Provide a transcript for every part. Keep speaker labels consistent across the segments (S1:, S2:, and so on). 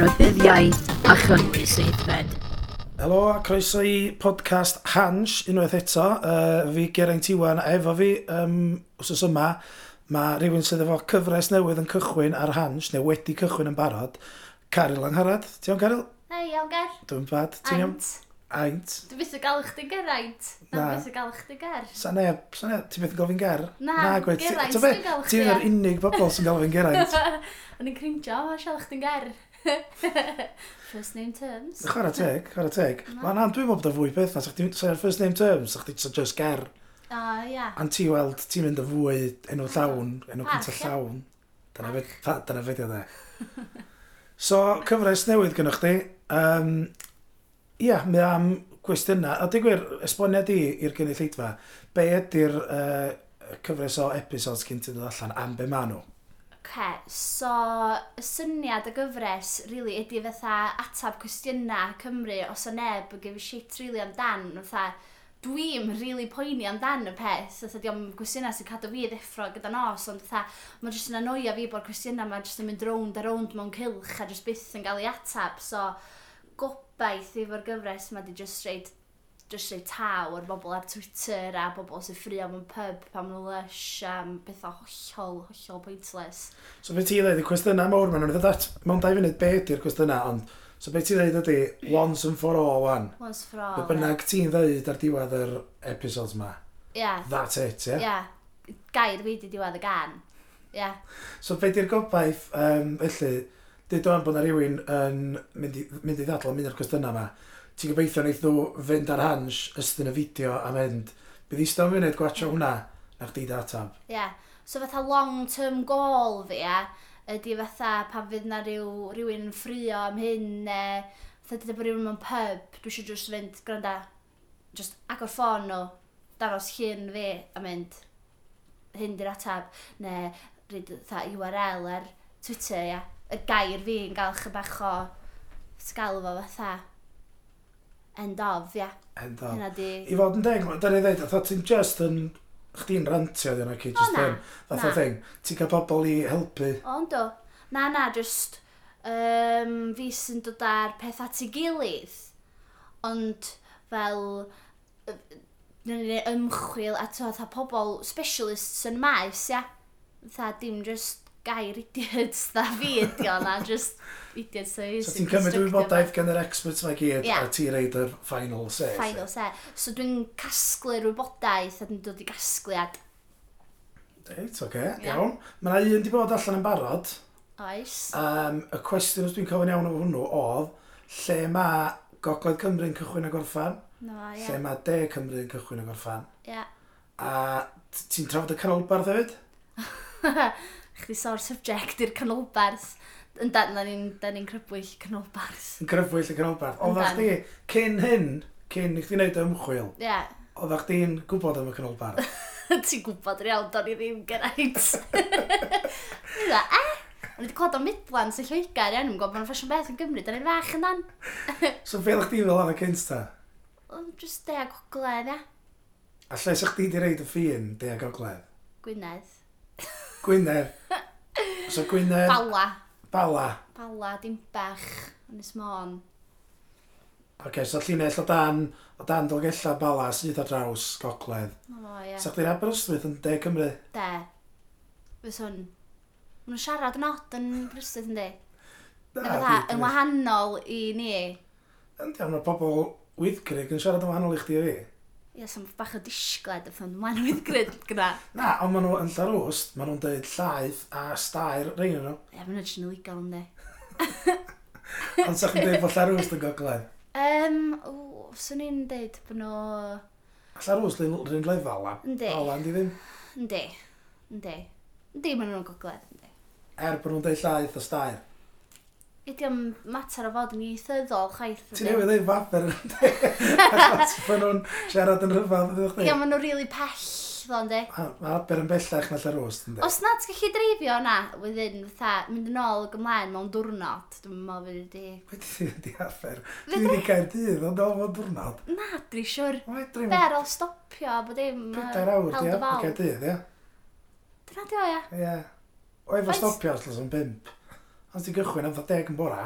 S1: rybuddiau a chynnwys eithfed.
S2: Helo a croeso i podcast Hans unwaith eto. Uh, fi Geraint Iwan a efo fi um, wrth yma mae rhywun sydd efo cyfres newydd yn cychwyn ar Hans neu wedi cychwyn yn barod. Caryl Angharad. Ti'n iawn Caryl?
S3: Hei, iawn ger.
S2: Dwi'n bad. Ti'n iawn?
S3: Aint.
S2: Aint.
S3: Dwi byth yn gael eich di geraint.
S2: Na.
S3: Na. Dwi byth yn gael eich di ger.
S2: Sa neb, sa neb, ti'n byth yn gofyn ger?
S3: Na,
S2: gwaith. Ti-
S3: Geraint
S2: t'o' be?
S3: sy'n galw chdi
S2: Ti'n un o'r
S3: ar.
S2: unig bobl sy'n galw fi'n Geraint.
S3: O'n i'n crinjo, a sial eich di ger. First name terms.
S2: Chwarae teg, chwarae teg. Mae'n am, dwi'n meddwl bod o fwy beth na. Sa'ch ti'n first name terms, sa'ch ti'n just ger.
S3: O, ia.
S2: A'n ti weld, ti'n mynd y fwy enw llawn, enw
S3: Parch,
S2: cynta
S3: ia.
S2: llawn. Dyna fe- pa- Dyna fe dde. So, cyfres newydd gynnwch chi. Um, ia, mae am gwestiynau. A digwyr, esboniad i i'r gynulleidfa, be ydy'r uh, cyfres o episodes gyn ti'n dod allan am be maen nhw?
S3: Okay, so y syniad y gyfres really, ydy fatha atab cwestiynau Cymru os o neb yn gyfer shit really amdan fatha dwi'n really poeni amdan y peth fatha diom cwestiynau sy'n cadw fi ddeffro gyda nos ond fatha mae'n jyst yn anoio fi bod cwestiynau mae'n jyst yn mynd rownd a rownd mewn cilch a jyst byth yn cael ei atab so gobaith efo'r gyfres mae di just reid just rei taw o'r bobl ar Twitter a bobl sy'n ffrio mewn pub pan maen nhw'n lush a bethau hollol, hollol pointless.
S2: So, be ti'n dweud, y cwestiynau mawr maen nhw'n dod at, mewn dau funud, be ydy'r cwestiynau, ond, so be ti'n dweud ydy, once and for all, wan.
S3: Once for
S2: Be
S3: all.
S2: bynnag ti'n dweud ar diwedd yr episodes ma.
S3: Ia,
S2: That's it, ie?
S3: ia. Gair fi di diwedd y gan. Ia.
S2: So fe di'r gobaith, um, felly, dweud o'n bod na rhywun yn mynd i, mynd i ddadl am un o'r cwestiynau yma. Ti'n gobeithio wneud nhw fynd ar hans ystyn y fideo a mynd, bydd i sto'n munud gwatsio hwnna, na chdi datab.
S3: Ia. So fatha long term goal fi, ia, ydy fatha pan fydd na ryw, rhywun yn ffrio am hyn, neu fatha dydy bod rhywun mewn pub, dwi eisiau just fynd, gwranda, just agor ffôn nhw, daros llun fi a mynd, hyn di'r atab, neu rhaid fatha URL ar Twitter, ia. Y gair fi yn gael chy bach o sgalw fo fatha end of, ia.
S2: Endo.
S3: Hynna di...
S2: I fod yn deg, da ni ddweud, oedd ti'n just yn, chdi'n rantio dyn nhw, ci, just
S3: na,
S2: yn, fath o
S3: na.
S2: thing. Ti'n cael pobl i helpu.
S3: Ond o, na na, just um, fi sy'n dod ar peth at ei gilydd. Ond fel yy, wnawn ni neud ymchwil a to, tha pobl specialists yn y maes, ia. Tha dim just gair idiots, tha fi ydi o na, just idiots o
S2: So ti'n cymryd wybodaeth gan yr experts mae gyd,
S3: Ie.
S2: a ti'n reid yr final say.
S3: Final se. So dwi'n casglu'r wybodaeth a dwi'n dod i gasgliad.
S2: Reit, oce,
S3: Ie.
S2: iawn. Mae yna un di bod allan yn barod.
S3: Oes.
S2: Um, y cwestiwn os dwi'n cofyn iawn o hwnnw oedd lle mae Gogledd Cymru'n cychwyn a gorffan,
S3: No,
S2: lle
S3: ia.
S2: mae De Cymru'n cychwyn a gorffan.
S3: Ia.
S2: A t- ti'n trafod y canolbarth hefyd?
S3: Chdi sor subject i'r canolbarth. Ynda, na ni'n da ni crybwyll canolbarth.
S2: Yn gryfwyll y canolbarth. Oedd
S3: Yndan.
S2: chdi cyn hyn, cyn i chdi wneud y ymchwil,
S3: Ie, yeah.
S2: oedd chdi'n gwybod am y canolbarth.
S3: ti'n gwybod yr iawn, do'n i ddim geraint. Dwi'n dda, eh? O'n i wedi clod o Midlands y Lloegar, iawn, i'n gwybod bod yn ffasiwn beth yn Gymru, da'n i'n fach yn dan.
S2: so fel chdi fel yna cynta?
S3: Ond jyst dea gogledd, ia.
S2: A lle sa'ch chdi di reid y ffin De a Gogledd?
S3: Gwynedd.
S2: Gwynedd. So Gwynedd,
S3: Bala.
S2: Bala.
S3: Bala, dim bach. Ynys Môn.
S2: Oce, okay, so llinell o dan, o dan dolgella Bala sydd ar draws Gogledd.
S3: O, ie.
S2: Sa'ch chdi'n Aberystwyth yn De Cymru?
S3: De. Fes hwn. Mae nhw'n siarad yn od yn Bristol, yndi?
S2: Na,
S3: Neu fatha,
S2: dwi'n-
S3: yn wahanol i ni.
S2: Yndi, ond mae pobl wythgrig yn siarad yn wahanol i chdi a fi.
S3: Ie, yes, bach o disgled o ffyn manwydd gryd gyda.
S2: Na, ond maen nhw yn llarwst, maen nhw'n dweud llaeth a stair rhain nhw.
S3: Ie, mae'n edrych yn illegal ynddi.
S2: Ond sa'ch chi'n dweud bod llarwst yn gogledd.
S3: Um, o, swn i'n deud bod nhw...
S2: A Llarwst yn rhywun lefel a
S3: Yndi.
S2: Holland i ddim.
S3: Yndi, yndi. Yndi, maen nhw'n gogledd, yndi.
S2: Er bod nhw'n dweud llaeth a stair.
S3: Ydy am mater o fod yn ieithyddol chwaith.
S2: Ti'n newydd dweud fader yn de. Maen nhw'n siarad yn rhyfedd ydych
S3: Ie,
S2: chi.
S3: maen nhw'n rili pell, ddo, yndi.
S2: Mae aber yn bellach na llarwst yn de.
S3: Os na, ti'n gallu dreifio na, wedyn, fatha, mynd yn ôl ag ymlaen mewn diwrnod, dwi'n meddwl fydd wedi...
S2: Wedi di afer. Dwi wedi cael dydd, ond o'n fod diwrnod.
S3: Na, dwi siwr.
S2: Mae dream
S3: Fer o stopio, bod dim... yy,
S2: pedair awr,
S3: held
S2: ia.
S3: y
S2: Mae
S3: fal.
S2: cael dydd, ia.
S3: Dyna di o, ia.
S2: Ie. O efo
S3: Faint-
S2: stopio os lwys yn bimp. Ond ti'n gychwyn am dda deg yn bora.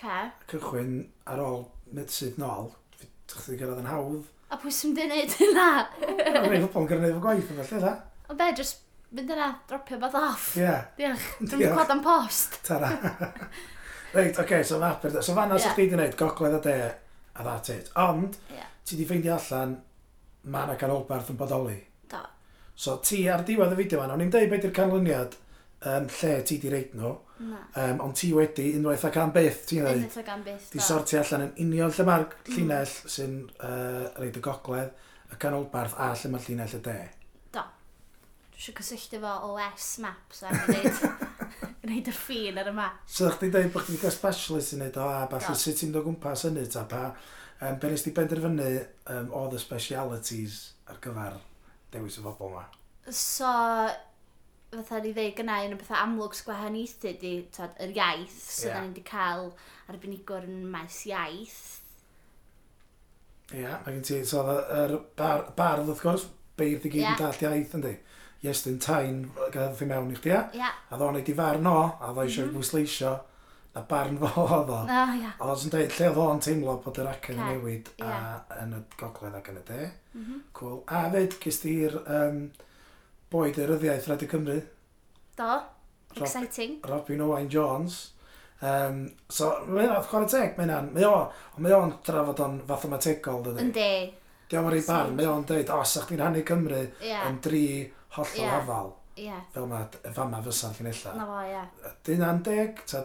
S3: Ca.
S2: cychwyn ar ôl medsydd nôl, ddech chi gyrraedd yn hawdd.
S3: A pwy sy'n mynd i wneud hynna?
S2: Mae'n rhaid pobl gyrraedd efo gwaith yn felly, da?
S3: Ond be, just mynd yna, dropio bod off.
S2: Ie,
S3: Diolch, dwi'n
S2: Diolch.
S3: clod am post.
S2: tara. Reit, oce, okay, so mae Aberdeen. So fanna
S3: Ie.
S2: sy'ch chi wedi gwneud gogledd a de a that it. Ond,
S3: Ie,
S2: ti wedi ffeindio allan, mae yna canolbarth yn bodoli.
S3: do.
S2: So ti ar diwedd y fideo fan, o'n i'n dweud beth yw'r canlyniad um, lle ti wedi reid nhw,
S3: Na.
S2: um, ond ti wedi unwaith ac am beth ti'n dweud.
S3: Unwaith o gan byth,
S2: Di
S3: do.
S2: sorti allan yn union lle mae'r llinell sy'n uh, reid y gogledd, y canolbarth a lle mae'r llinell y de.
S3: Do. Dwi eisiau cysylltu fo OS Maps a gwneud, gwneud yr ffin ar y map.
S2: So ddech chi'n dweud bod chdi'n cael specialist yn neud o a
S3: Do.
S2: falle sut ti'n dod gwmpas hynny ta pa um, be nes ti benderfynu um, oedd y specialities ar gyfer dewis y bobl yma.
S3: So, fatha ni ddeud gyna un o bethau amlwg sgwahaniaethu di, tod, yr iaith.
S2: Ie.
S3: So, yeah. da ni wedi cael arbenigwr yn maes iaith.
S2: Ia, mae gen ti, so oedd y- yr bar, bardd wrth gwrs, beirdd i gyd
S3: Ie.
S2: yn dall iaith yndi. Iestyn Tain gafodd hi mewn i chdi ia,
S3: Ia. Yeah.
S2: a ddo'n neud i farn o, a ddo eisiau bwysleisio, a barn fo oedd o.
S3: Oh, ia.
S2: A oedd yn dweud, lle oedd o'n teimlo bod yr acen yn
S3: Ca-
S2: newid a
S3: ie. Mhm.
S2: yn y gogledd ac yn y de. Cool. A fyd, gys ti'r um, boed yr yddiaeth Radio Cymru,
S3: Do.
S2: Rob-
S3: Exciting.
S2: Robin Owain Jones. Um, so, mae o'n chwarae teg, mae o'n, mae o'n, ond mae o'n drafod o'n fathemategol, dydy.
S3: Yndi.
S2: Diolch yn rhaid barn, mae o'n dweud, os ych chi'n hannu Cymru
S3: Ie.
S2: yn dri hollol
S3: Ie.
S2: hafal,
S3: Ia.
S2: fel mae d- fama fysa'n
S3: Na
S2: llinella.
S3: fo, ia.
S2: Dyn a'n deg, ta,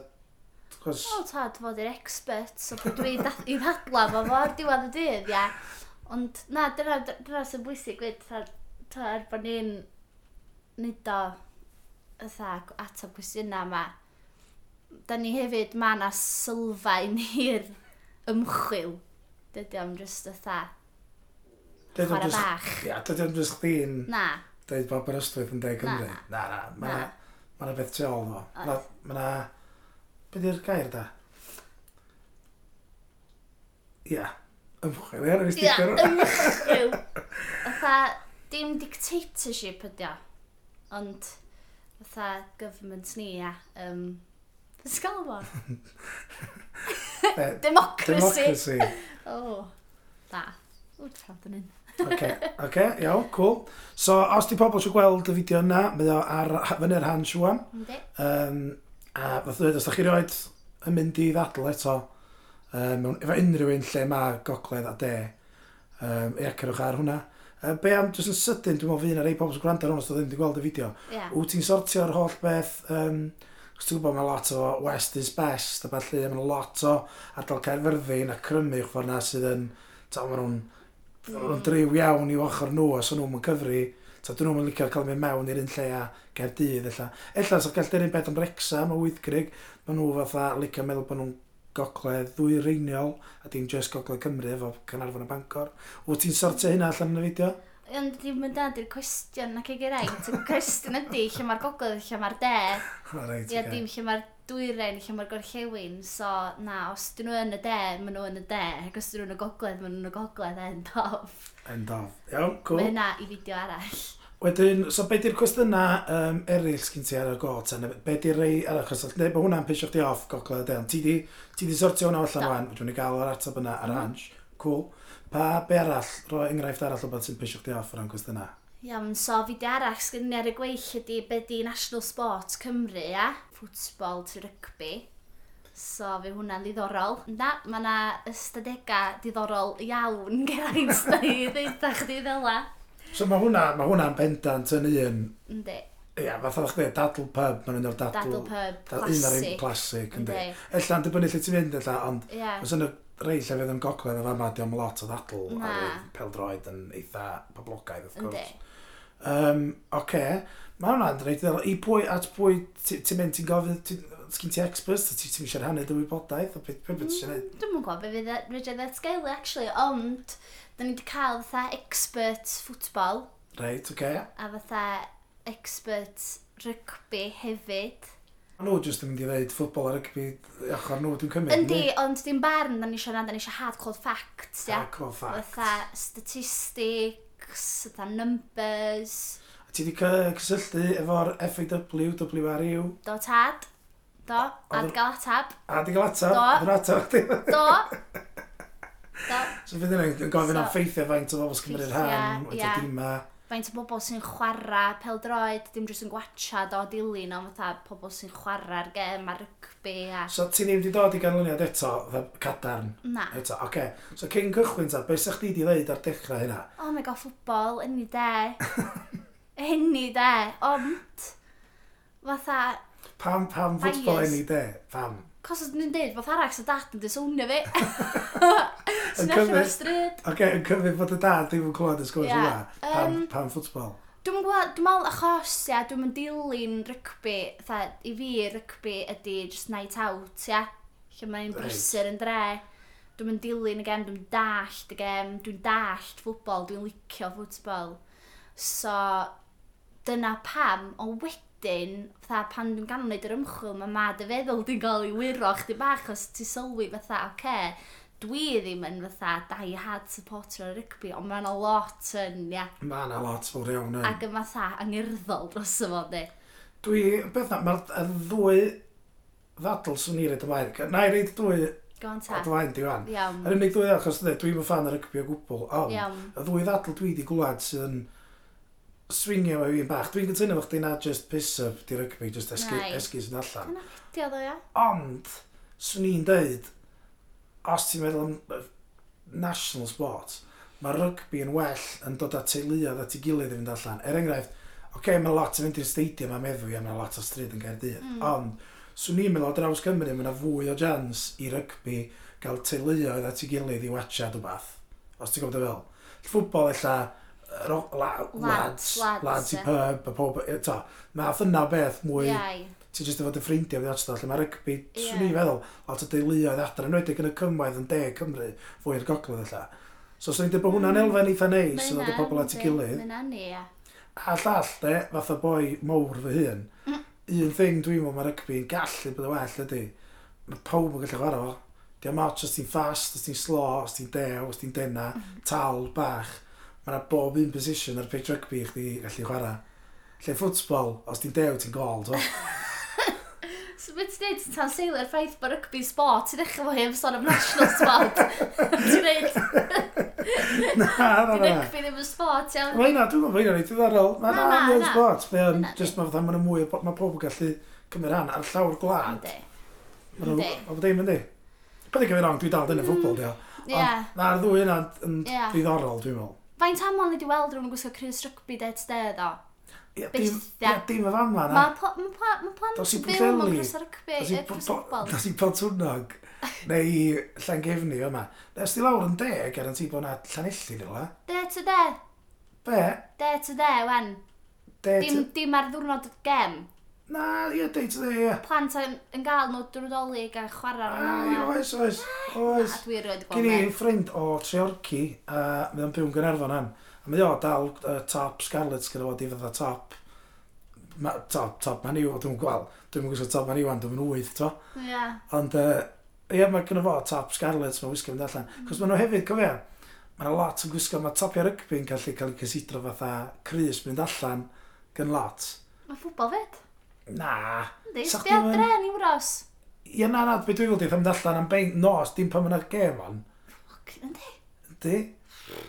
S2: chos,
S3: Wel, ta, dwi fod i'r expert, so pwy dwi dath- i ddadla fo fo ar diwedd y dydd, ia. Ond, na, dyna, dyna sy'n bwysig, gwyd, ta, ta, er bod ni'n nid o, ytha, atab cwestiynau yma, da ni hefyd, ma na sylfaen i'r ymchwil. Dydy o'n just ytha,
S2: dydw
S3: chwarae bach.
S2: i'n just chdi'n
S3: Na,
S2: Deud bod Aberystwyth yn deg Cymru.
S3: Na.
S2: Na, na. Mae
S3: Na.
S2: ma 'na beth tu ôl fo. Mae ma 'na... Be di'r gair da? Ia. Ymchwil, ia, rwy'n
S3: ia,
S2: sticker.
S3: ymchwil. Ytha, dim dictatorship ydi o, ond, ytha, government ni, ia. Um, Ysgol fo?
S2: Be-
S3: Democracy.
S2: Democracy.
S3: O, da. Wyd prawd yn un.
S2: Oce, oce, iawn, cool. So, os di pobl eisiau gweld y fideo yna, mae o ar fyny'r han siwan.
S3: Yndi.
S2: Um, a fath o ddweud, os da chi roed yn mynd i ddadl eto, um, mewn- efo unrhyw un lle mae gogledd a de, um, ia, cerwch ar hwnna. Uh, be am, jyst yn sydyn, dwi'n meddwl fydd yna rei pobl sy'n gwrando ar hwnna, os da ddim wedi gweld y fideo.
S3: Ia.
S2: Wyt ti'n sortio'r holl beth, um, chos ti'n gwybod mae lot o West is Best, a falle mae yna lot o ardal Caerfyrddin a Crymu, chwar na sydd yn, ta, mae nhw'n mm. driw iawn i'w ochr nhw, os o'n nhw'n cyfri, ta, dyn nhw'n licio cael mynd mewn i'r un lle a Gaerdydd, ella. Ella, os o'ch gallu un beth am Wrexham, o Wythgrig, mae nhw fatha licio meddwl bod nhw'n gogledd ddwy reiniol, a dim just gogledd Cymru efo Canarfon a Bangor. Wyt ti'n sortio hynna allan yn y fideo?
S3: Ond ddim yn dad i'r cwestiwn nac i geraint. Y cwestiwn ydi lle mae'r gogledd, lle mae'r de.
S2: O, reit,
S3: Ia,
S2: ocê.
S3: dim lle mae'r dwyren, lle mae'r gorllewin. So, na, os dyn nhw yn y de, maen nhw yn y de. Ac os dyn nhw yn y gogledd, maen nhw yn y gogledd end of.
S2: End of. Iawn, cool.
S3: Mae hynna i fideo arall.
S2: Wedyn, so be di'r cwestiynau um, eraill sgyn ti ar y got? Neu Be di'r rei ar y chwestiwn? Neu bod hwnna'n pisio chdi off gogledd y den. Ti di, ti di sortio hwnna allan
S3: Do.
S2: rwan, dwi'n i gael yr ateb yna ar hans. Cool. Pa, be arall? Rho enghraifft arall o beth sy'n pisio chdi off o ran cwestiynau.
S3: Iawn, so fideo arall sgyn ni ar y gweill ydi be di National Sport Cymru, ia? Ffwtbol to rygbi. So, fe hwnna'n ddiddorol. Na, mae yna ystadegau diddorol iawn geraint da i ddeitha chdi ddela.
S2: So mae hwnna, mae hwnna'n bendant yn un,
S3: Yndi,
S2: ia, fath o'ch chdi, dadl pub, mae'n un o'r dadl.
S3: dadl pub,
S2: da- Un o'r un
S3: classic.
S2: clasic, yndi.
S3: Yndi.
S2: Ella'n dibynnu lle ti'n mynd, ella, ond
S3: Ie,
S2: Os yn y rei lle fydd yn gogledd yn fama, diolch lot o ddadl
S3: Na.
S2: oherwydd peldroed yn eitha poblogaidd, wrth
S3: yndi.
S2: gwrs. Um, Oce, mae hwnna'n reit ddiddorol. I pwy at pwy ti- ti'n mynd, ti'n gofyn, ti- sgyn ti experts, ti ti'n eisiau rhannu dy wybodaeth, a beth beth beth ti'n neud?
S3: Dwi'n mwyn gwybod be fydd rydyn ni'n sgaelu, actually, ond da ni wedi cael fatha expert ffwtbol
S2: Reit, oce.
S3: a fatha expert rygbi hefyd.
S2: Ma' nhw jyst yn mynd i ddeud ffwtbol ar y cybi ochr nhw, dwi'n cymryd.
S3: Yndi, ond dim barn, da ni eisiau na, da ni eisiau hard cold facts, ia.
S2: Ac o ffac.
S3: Fytha statistics, fytha numbers,
S2: Ti wedi cysylltu efo'r FAW, WRU,
S3: do tad, Do, a di gael atab.
S2: A di gael ato,
S3: Do.
S2: yn ato chdi.
S3: Do. Do.
S2: So fydd yn gofyn am
S3: So-
S2: ffeithiau faint o bobl sy'n cymryd rhan,
S3: Ffeithiau,
S2: wedi
S3: ia.
S2: dima.
S3: Faint o bobl sy'n chwarae peldroed, dim jyst yn gwatcha do dilyn ond fatha pobl sy'n chwarae'r gem a rygbi a...
S2: So ti ddim wedi dod i ganlyniad eto, fatha cadarn?
S3: Na.
S2: Eto, oce. Okay. So cyn cychwyn ta, beth sa'ch di di ddeud ar dechrau hynna?
S3: Oh my god, ffwbol, enni de. enni de, ond... Fatha,
S2: Pam, pam fwtbol
S3: Bias.
S2: enni de? Pam?
S3: Cos oedd nhw'n dweud, bod arall sy'n dad yn disownio fi.
S2: Yn
S3: Sy'n allan
S2: cyfres.
S3: o'r stryd.
S2: Oce, okay, yn cyfyd bod y dad ddim yn clywed y sgwrs
S3: Ie,
S2: yma. Pam,
S3: yym,
S2: pam fwtbol?
S3: Dwi'n gweld, dwi'n meddwl achos, ia, dwi'n mynd dilyn rygbi, tha, i fi rygbi ydi just night out, ia, lle mae'n
S2: Reit.
S3: brysur yn dre. Dwi'n mynd dilyn y gem, dwi'n dallt y gem, dwi'n dallt ffwbol, dwi'n licio ffwtbol. So, dyna pam, ond wedyn, fatha, pan dwi'n ganol wneud yr ymchwil, mae ma dy feddwl dwi'n gael i wyro chdi bach, os ti sylwi fatha, oce, dwi ddim yn fatha die hard supporter o rygbi, ond mae yna lot yn, ia,
S2: Mae yna lot fawr iawn yn.
S3: ac yn fatha angerddol dros y fod ni.
S2: Dwi, beth na, mae'r ddwy ddadl swn i reid ymlaen. Ca- Na i reid dwy
S3: Go on ta.
S2: ymlaen di wan.
S3: Iawn.
S2: Yr unig ddwy ddadl, achos dwi- dwi'm yn fan o rygbi o gwbl, ond
S3: Iawn.
S2: y ddwy ddadl dwi wedi gwlad sydd yn swingio efo fi'n bach. Dwi'n cytuno fo chdi na just piss-up di rygbi, just esgu,
S3: Nai.
S2: esgus yn allan.
S3: Dyna fideo ddo ia?
S2: Ond, swn i'n deud, os ti'n meddwl am yy, national sport, mae rygbi yn well yn dod â teuluoedd at ei gilydd i fynd allan. Er enghraifft, oce, okay, mae lot yn mynd i'r stadium am meddwl, ia, mae lot o stryd yn Gaerdydd. Mm. Ond, swn i'n meddwl o draws Cymru, mae yna fwy o jans i rygbi gael teuluoedd at ei gilydd i watsiad o bath. Os ti'n gwybod y fel. Ffwbol ella, yr o- la- lads,
S3: lads,
S2: lads i
S3: ie.
S2: pub, y pob, eto, mae'r yna beth mwy...
S3: Iau.
S2: Ti'n just efo dy ffrindiau fydd atstall, lle mae rygbi,
S3: Ie.
S2: swn i'n feddwl, lot o deuluoedd adra, yn wedi'i yn y cymoedd yn de Cymru, fwy i'r gogledd illa. So, swn i'n dweud bod hwnna'n
S3: Mm.
S2: elfen eitha neis, so ddod y bobl at ei gilydd.
S3: Mae'n ni ia.
S2: A llall, de, fath o boi mowr fy hun.
S3: Mm.
S2: Un thing dwi'n meddwl mae rygbi'n gallu bod yn well ydy, mae pawb yn gallu chwarae fo. Diolch march os ti'n fast, os ti'n slo, os ti'n dew, os ti'n dena,
S3: Mm.
S2: tal, bach. Mae yna bob un position ar pitch rygbi i chdi gallu chwarae. Lle ffwtbol, os ti'n dew, ti'n gol, do?
S3: So beth ti'n neud tan seilio'r ffaith bod rygbi sport, ti'n dechrau fo hyn sôn am national sport. Ti'n neud,
S2: Na, na, na.
S3: ti'n rygbi ddim yn sport iawn.
S2: Mae hynna, dwi'n meddwl, mae hynna'n ei ddiddorol. Mae
S3: Na,
S2: hynna
S3: na,
S2: angen
S3: na.
S2: sport. Mae o'n
S3: Hynna
S2: just mae fatha, mae yna mwy, o bo- mae pobl yn gallu cymryd rhan ar llawr gwlad.
S3: Yndi.
S2: Mae nhw-
S3: Yndi. Mm,
S2: Mae bod dim yn di. Bydd i gyfer rong, dwi dal yn y ffwbol, diol.
S3: Ie.
S2: Na'r ddwy yna yn
S3: Ie.
S2: ddiddorol, dwi'n meddwl.
S3: Faint aml ni wedi weld rhywun yn gwisgo Chris Rygbi dead stair ddo?
S2: Ie,
S3: Byth,
S2: dim-
S3: ia.
S2: ie, Dim y fan ma na.
S3: Mae plant
S2: Dos i
S3: yn byw mewn
S2: Pwllheli.
S3: Chris Rygbi,
S2: Dos i
S3: yy, Chris Rygbi.
S2: Dos i Pontwnog. Neu Llangefni o yma. Nes di lawr yn deg ar yn ti bod yna Llanelli neu la.
S3: Dead to dead,
S2: Be?
S3: dead to dead, wen.
S2: Deg...
S3: Dim, dim ar ddiwrnod y gem.
S2: Na, ie, deg to dde, ie.
S3: plant yn, yn gael nhw drwdolig a chwarae
S2: Ai,
S3: ar yna.
S2: oes, oes,
S3: A
S2: oes.
S3: dwi erioed
S2: Gen
S3: gweld
S2: i
S3: hynny.
S2: ffrind o Treorci, a mae o'n byw yn Gynarfon am. A mae o dal uh, top Scarlett gyda fo, di fydda top. Ma, top, top, mae'n i'w, dwi'n gweld. Dwi'n gwybod top, mae'n i'w, dwi'n wyth, to.
S3: Ie.
S2: Ond, yy, ie, mae gynna fo top Scarlett, mae'n wisgo fynd allan. Cos maen nhw hefyd, cofio, mae'n lot yn gwisgo, mae topio rygbi'n gallu cael ei cysidro fatha Cris mynd allan gan lot.
S3: Mae ffwbol fyd.
S2: Na.
S3: Yndi,
S2: Sa'ch
S3: sbio
S2: dim yn-
S3: dre yn Euros.
S2: Ie, na, na, beth dwi'n gweld, dwi'n mynd allan am bein nos, dim pan mae'n gem on.
S3: Ffwc, Yndi.
S2: Di?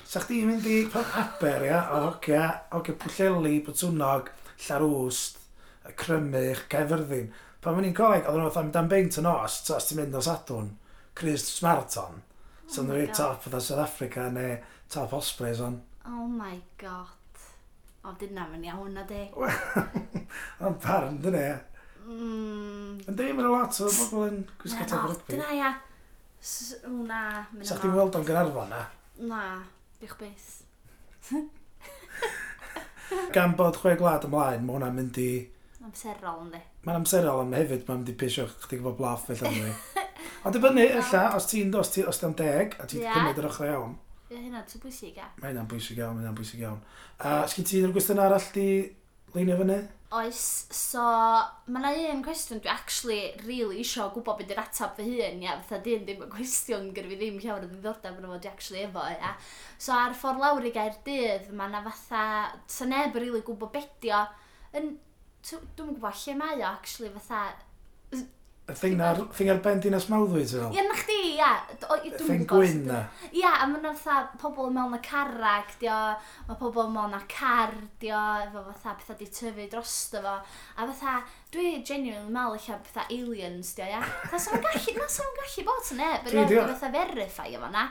S2: Sa chdi'n mynd i pan aber, ia? O, ogia, ogia, pwlleli, bwtwnog, llarwst, y crymych, caefyrddin. Pan o'n i'n coleg, oedden nhw'n fatha mynd am beint yn os, so os ti'n mynd o Sadwn, Chris Smarton. So oh
S3: my
S2: nhw'n
S3: God.
S2: top fatha South Africa neu top Ospreys on.
S3: Oh my god. O, dyna fy'n iawn na di.
S2: Ond barn, dyn e.
S3: Mm.
S2: Yn dim yn lot o bobl yn gwisgo
S3: Mae'n
S2: top
S3: od,
S2: rygbi.
S3: Dyna ia. S- o, Na, mynd
S2: Sa chdi'n weld o'n gynarfon na?
S3: Na, bych byth.
S2: Gan bod chwe glad ymlaen, mae hwnna'n mynd i...
S3: Amserol yndi.
S2: Mae'n amserol am hefyd, mae'n mynd i pisio chdi gwybod blaff fel hynny. Ond dibynnu, ella, os ti'n os ti, os ti'n deg, a ti'n
S3: Ie.
S2: yeah. cymryd yr ochr iawn,
S3: Ie, hynna, ti'n bwysig ia.
S2: mae hynna'n bwysig iawn, mae hynna'n bwysig iawn. A sgyn ti'n rhywbeth yn arall di leinio fyny?
S3: Oes, so mae yna un cwestiwn dwi actually really isio gwybod beth yw'r atab fy hun, ia, fatha dyn ddim yn cwestiwn gyda fi ddim llawer o ddiddordeb yn fod i actually efo, ia. So ar ffordd lawr i gair dydd, mae yna fatha, sa neb yn really gwybod bedio, yn, tw- dwi'm yn gwybod lle mae o actually fatha,
S2: y thing ar, thing ar ben dinas mawddwy, ti'n meddwl?
S3: Ie, na chdi, ia. D- o- i- dwi'm yn
S2: Thing
S3: gwbod
S2: gwyn
S3: sut-
S2: na.
S3: Ia, a mae'n fatha pobl mewn y carrag, dio, mae pobl mewn y car, dio, efo fatha pethau di tyfu drosto fo. A fatha, dwi genuinely mal eich pethau aliens, dio, ia. Fatha, sa'n gallu, na sa'n gallu bod yn neb,
S2: Dwi-
S3: yn
S2: dio-
S3: fatha verify efo na.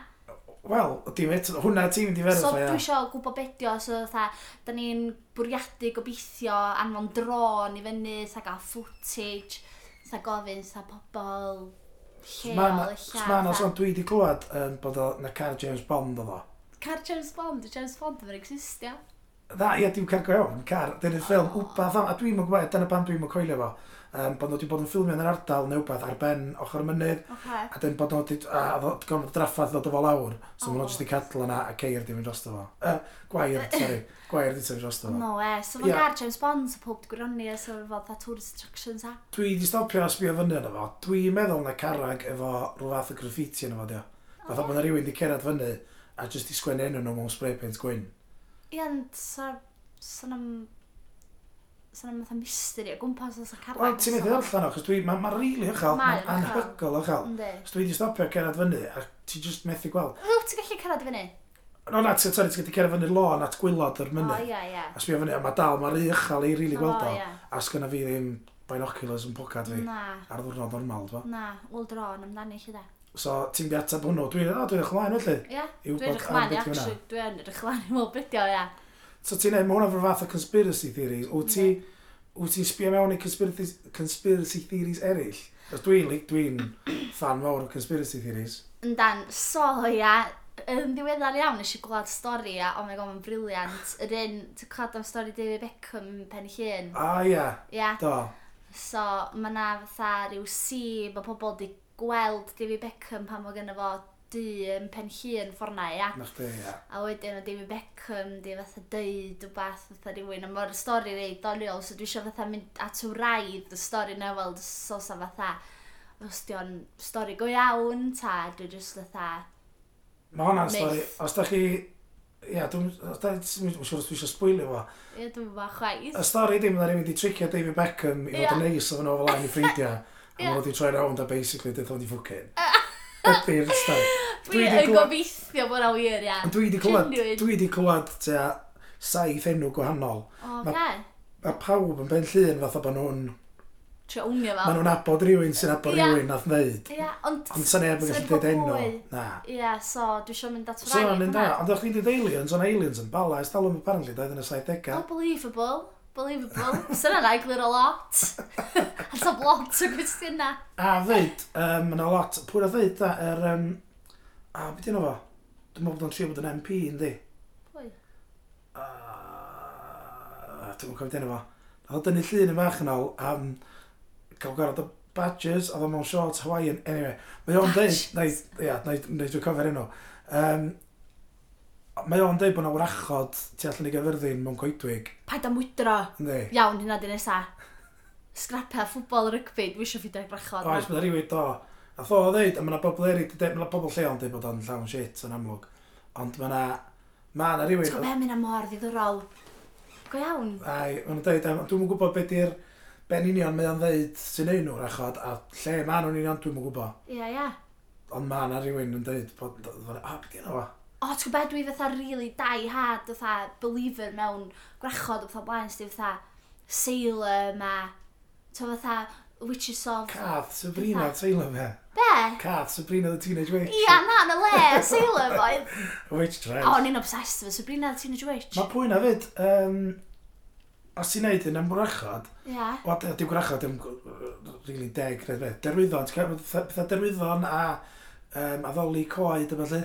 S2: Wel, dim et, hwnna ti'n di
S3: So,
S2: verify,
S3: dwi
S2: ia.
S3: eisiau gwybod beth dio, so fatha, da ni'n bwriadu gobeithio anfon dron i fyny, fatha gael footage, fatha gofyn, fatha pobl, lleol,
S2: Mae'n
S3: eich
S2: sôn, dwi di glwad um, bod o, na car James Bond o fo.
S3: Car James Bond, yw James Bond yn existio.
S2: Dda, ia, dim car go iawn, car. Dyna'r ffilm, wbath am, a dwi'n mwyn gwybod, dyna pan dwi'n mwyn coelio fo. Um, bod nhw wedi bod yn ffilmio yn yr ardal neu wbath ar ben ochr y mynydd.
S3: Okay.
S2: A dyn bod nhw wedi, a ddod gofod draffaeth ddod o fo lawr. So oh. maen
S3: O.
S2: nhw jyst i cadl yna a ceir di fynd drosto fo. Uh, gwair, sori. Gwair di tyfu drosto fo.
S3: No e, so fo
S2: Ie.
S3: gar James Bond a pob gwirionnu a sef fel dda tourist attractions a.
S2: Dwi di stopio a sbio fyny yna fo. Dwi'n meddwl na carag efo rhyw fath o graffiti yna fo, dio. Fath o bod na rhywun di cerad fyny a jyst i sgwennu enw nhw mewn spray paint gwyn.
S3: Ie, ond sa... sa nam... sa nam fatha mystery o gwmpas o sa carfan.
S2: Wel, ti'n meddwl allan o, chos dwi, mae'n ma rili uchel,
S3: Mae
S2: mae'n
S3: yn uchel.
S2: anhygol uchel.
S3: Yndi.
S2: Os dwi di stopio cerad fyny a ti jyst methu gweld.
S3: Wyt ti'n gallu cyrraedd i fyny?
S2: No, na, ti'n sori, ti'n gallu cerad fyny'r lôn at gwylod yr
S3: O,
S2: mynydd.
S3: ie, ie.
S2: A sbio fyny, a mae dal, mae'n rhy uchel i rili
S3: O,
S2: gweld o.
S3: ie.
S2: A sgynna fi ddim binoculars yn pocad fi.
S3: Na,
S2: Ar ddwrnod normal, dwi.
S3: na, wel dron amdani chi da.
S2: So, ti'n di atab hwnnw. Dwi'n dweud, dwi'n eich mlaen, felly.
S3: Ie,
S2: I
S3: dwi'n
S2: wybod
S3: edrych
S2: am
S3: mlaen,
S2: beth
S3: ie,
S2: yw hwnna.
S3: actually, dwi'n edrych mlaen i weld beth o, ie.
S2: So ti'n neud, mae hwnna fel fath o conspiracy theories. Wyt ti, wyt ti'n sbio mewn i conspiracy, conspiracy theories eraill? Os dwi'n li- dwi'n fan mawr o conspiracy theories.
S3: Yndan, so ia, yn ddiweddar iawn nes i gwlad stori a, oh my god, mae'n briliant. Yr un, ti'n clywed am stori David Beckham pen i llun?
S2: A ia,
S3: Ia.
S2: do.
S3: So, mae na fatha rhyw si, mae pobl di gweld David Beckham pan mae gynnu fo dŷ yn pen hun fforna, ia.
S2: Na chdi, ia.
S3: A wedyn o David Beckham di fatha dweud wbath fatha rhywun, a mae'r stori rei doniol, so dwi eisiau fatha mynd at o raidd y stori na weld sos a fatha. Os di o'n stori go iawn, ta dwi jyst fatha...
S2: Mae hwnna'n
S3: Myth.
S2: stori. Os da chi... Ia, dwi'n siŵr os dwi eisiau sbwylio fo.
S3: Ie, dwi'n mynd bach chwaith.
S2: Y stori ddim na rhywun wedi tricio David Beckham i fod yn neis o fan o fel ein i ffrindiau. A
S3: Ie.
S2: mae wedi troi round a basically dweud o'n i ffwcyn. Ydy'r stori.
S3: Dwi
S2: di
S3: yn
S2: glywed-
S3: gobeithio bod na wir, ia.
S2: Dwi wedi clywed,
S3: Genuine.
S2: dwi wedi clywed tua saith enw gwahanol.
S3: O,
S2: Ma-
S3: okay.
S2: Mae pawb yn ben llun fatha bod nhw'n,
S3: Trio wnio
S2: maen
S3: fel.
S2: nhw'n abod rhywun sy'n abod
S3: Ie.
S2: rhywun nath wneud.
S3: Ia, ond...
S2: Ond sa'n neb yn
S3: Sa'n
S2: gallu dweud enw.
S3: fwy.
S2: Na.
S3: Ia, so dwi eisiau mynd at
S2: So
S3: rhaid.
S2: hwnna'n un da. Ond o'ch chi'n dweud aliens, ond aliens yn balas, dal o'n apparently doedd yn y
S3: Oh,
S2: 70au.
S3: believable. Believable. Sy'n yna eglir o lot. A sob lot o gwestiynau.
S2: A ddweud, yym, ma' 'na lot, pwyr a ddweud da, yr, um, a beth yna fo? Dwi'n meddwl bod o'n trio bod yn MP, yndi?
S3: Pwy?
S2: Uh, dwi'n cofio dyna fo. Nath o dynnu llun yn fach yn ôl am cael gorfod o badges, a ddo mewn shorts Hawaiian. Anyway, mae o'n dweud,
S3: Badges.
S2: neu, ia, neu, neu dwi'n cofio'r enw. Um, mae o'n dweud bod yna wrachod tu allan i gyfyrddin mewn coedwig.
S3: Paid am wydro.
S2: Ynddi?
S3: Iawn, hynna di nesa. Scrapia, ffwbol, rygbi. Dwi eisiau ffidio brachod.
S2: Oes, mae'n rhywun do. A ddo o ddeud, a mae yna bobl eri, mae yna bobl lleol yn dweud bod o'n llawn shit yn amlwg. Ond mae yna, mae yna
S3: Ti'n gwybod
S2: rhywun,
S3: beth mynd am mor ddiddorol? Go iawn.
S2: ai, mae nhw'n dweud, dwi'n mwyn gwybod beth i'r ben union mae o'n ddeud sy'n ei nhw'r achod, a lle mae nhw'n union dwi'n mwyn gwybod.
S3: Ia, ia. Ond
S2: Ond mae yna rhywun yn dweud bod, bod- a beth yna fo?
S3: O, ti'n gwybod dwi fatha really dau had, fatha believer mewn gwrachod o fatha blaen, sydd fatha sailor ma, ti'n fatha witches of...
S2: Cath Sabrina, teulu fe.
S3: Be?
S2: Cath Sabrina the Teenage Witch.
S3: Ia, na, yn y le, sailor boy.
S2: Witch Trials.
S3: O, o'n i'n obsessed efo Sabrina the Teenage Witch.
S2: Mae pwy na fyd, um, os ti'n neud yn ymwrachod,
S3: Ia.
S2: Wel, dy- dim gwrachod, dim gw- rili deg, rhaid beth. Derwyddon, ti'n cael pethau derwyddon a um, addoli coed a felly?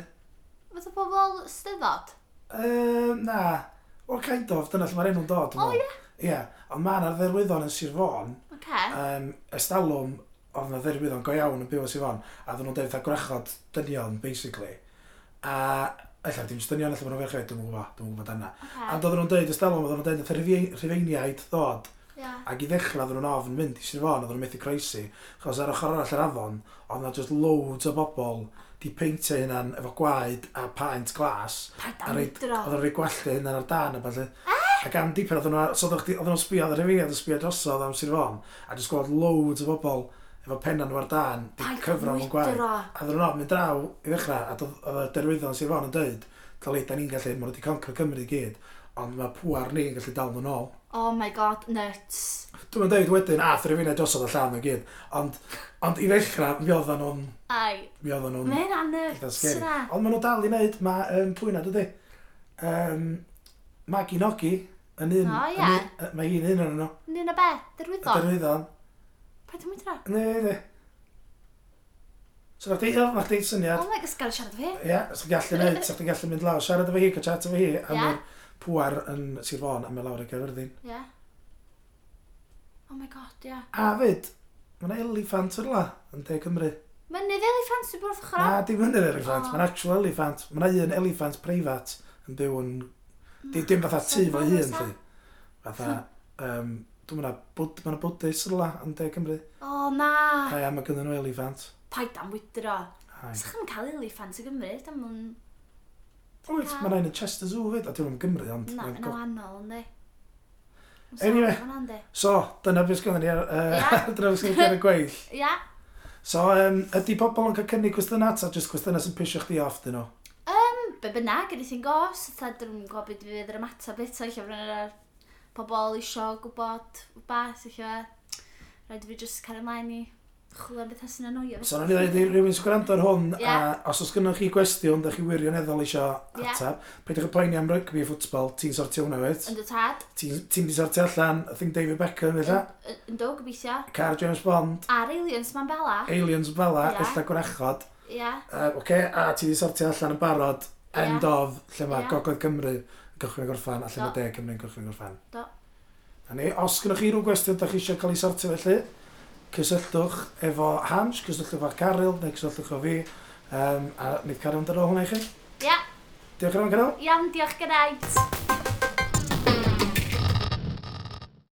S3: Fath o bobl steddod.
S2: Um, na, o kind of, dyna lle mae'r enw'n dod. dwi'n
S3: O,
S2: meddwl. Ie, ond mae yna dderwyddon yn Sir Fôn,
S3: Oce.
S2: um, estalwm, oedd yna dderwyddon go iawn yn byw yn Sir Fôn, a ddyn nhw'n deud gwrachod dynion, basically. A, ella, dim jyst dynion, ella bod nhw'n ferchau, dwi'n gwybod, dwi'n gwybod yna. A
S3: Oce.
S2: doedden nhw'n deud estalwm, oedden nhw'n deud nath y Rhyfei- Rhufeiniaid ddod
S3: Ia.
S2: Ac i ddechrau, oedden nhw'n ofn mynd i Sir Fôn, oedden nhw'n methu croesi, chos ar ochr arall yr afon, oedd na just loads o bobl di peintio hunan efo gwaed a paint glas.
S3: Paid
S2: a
S3: am
S2: reid-
S3: wydro.
S2: Oedden nhw'n rhoi gwallu hunan ar dan a falle. Ac am dipyn, oedden nhw'n so oedden nhw sbio, oedden nhw'n sbio drosodd am Sir Fôn, a just gweld loads o bobl efo penna nhw ar dan, di
S3: Paid
S2: cyfro mewn gwaith.
S3: mwydro.
S2: A ddyn nhw'n mynd draw i ddechrau, a doedd- oedd y derwyddon sydd fo'n yn dweud, dylai, da ni'n gallu, maen nhw wedi conquer Cymru i gyd, ond mae pwar ni'n gallu dal nhw'n ôl.
S3: Oh my god, nuts.
S2: Dwi'n mynd dweud wedyn, a thryfina drosodd y llawn o gyd, ond, ond i ddechrau, mi oedden nhw'n,
S3: Ai,
S2: mi oedden nhw'n
S3: mae hynna
S2: eitha
S3: nuts
S2: scary.
S3: yna.
S2: Ond maen nhw dal i wneud, mae um, pwy na, dydy? Um, Magi Nogi, yn un,
S3: O,
S2: yn
S3: ie.
S2: un- yy, mae hi'n un o'n nhw,
S3: Ni yna be,
S2: y
S3: derwyddon.
S2: derwyddon.
S3: Pa dim wydra?
S2: Ne, ne. So na chdi, o, na chdi syniad.
S3: Oh my god, gael siarad efo hi.
S2: Ie, sy'n gallu neud, sy'n gallu mynd lawr, siarad efo hi, cael chat efo hi, a
S3: Ie.
S2: mae'r pŵar yn Sir Fôn, a mae lawr y Gaerfyrddin.
S3: Ie. Oh my god, ie.
S2: A fyd, mae yna elefant o'r la, yn De Cymru.
S3: Mynydd elefant sy'n bwrdd ochr.
S2: Na, dim yn yr elefant,
S3: O.
S2: mae'n actual elefant. Mae yna un elefant preifat yn byw yn... Di, dim fatha tŷ fo
S3: Sa'n
S2: hun,
S3: dda.
S2: lli. Fatha, um, dwi'n mynd bod, mae'n bwdus yr la yn De Cymru.
S3: O na,
S2: Ai, a mae gyda nhw elefant.
S3: paid am wydro.
S2: Ai.
S3: Sa'ch chi'n cael elefant i Gymru? Dim yn...
S2: Wyt,
S3: Na.
S2: mae'n ein y Chester Zoo fyd, a dwi'n mynd Gymru, ond...
S3: Na,
S2: mae'n
S3: yn
S2: go-
S3: awannol, ynddi.
S2: Anyway.
S3: Yndi.
S2: So, dyna beth gyda ni ar... Uh,
S3: Ie.
S2: dyna beth gyda ni ar y gweill.
S3: Ia.
S2: So, um, ydy pobl yn cael cynnig cwestiynau ta, jyst cwestiynau sy'n pisio chdi off dyn nhw?
S3: Um, be byna, gen i ti'n gos, ta dwi'n gwybod beth fydd yr ymateb eto, lle fydd yr pobol isio gwybod beth, lle rhaid i fi jyst cael ymlaen i chwilio am beth sy'n anoio.
S2: So, na'n i ddweud i rywun sy'n gwrando ar hwn,
S3: Ie.
S2: a os oes gynnwch chi gwestiwn, da chi wirioneddol eisiau
S3: Ie.
S2: atab, peidiwch y poeni am rygbi a ffwtbol, ti'n sortio hwnna wyt?
S3: Yn dy tad,
S2: Ti'n ti'n di sortio allan, I think David Beckham, eitha,
S3: yn- yn dod gobeithio,
S2: Car James Bond,
S3: a'r aliens ma'n bela,
S2: Aliens Bella,
S3: Ie.
S2: Ella Gwrachod,
S3: ia,
S2: uh, okay, a ti di sortio allan yn barod,
S3: Ie.
S2: end of, lle mae
S3: Ie.
S2: Gogledd Cymru yn cychwyn ag orffan, a lle mae
S3: Do.
S2: De Cymru'n cychwyn ag orffan.
S3: do.
S2: A ni, os gynnwch chi rhyw gwestiwn da chi eisiau cael ei sortio felly, cysylltwch efo Hans, cysylltwch efo Caryl, neu cysylltwch efo fi, um, a nid Caryl yn dod o hwnna i chi.
S3: Ia,
S2: Diolch yn fawr, Caryl.
S3: iawn, diolch gyda'i.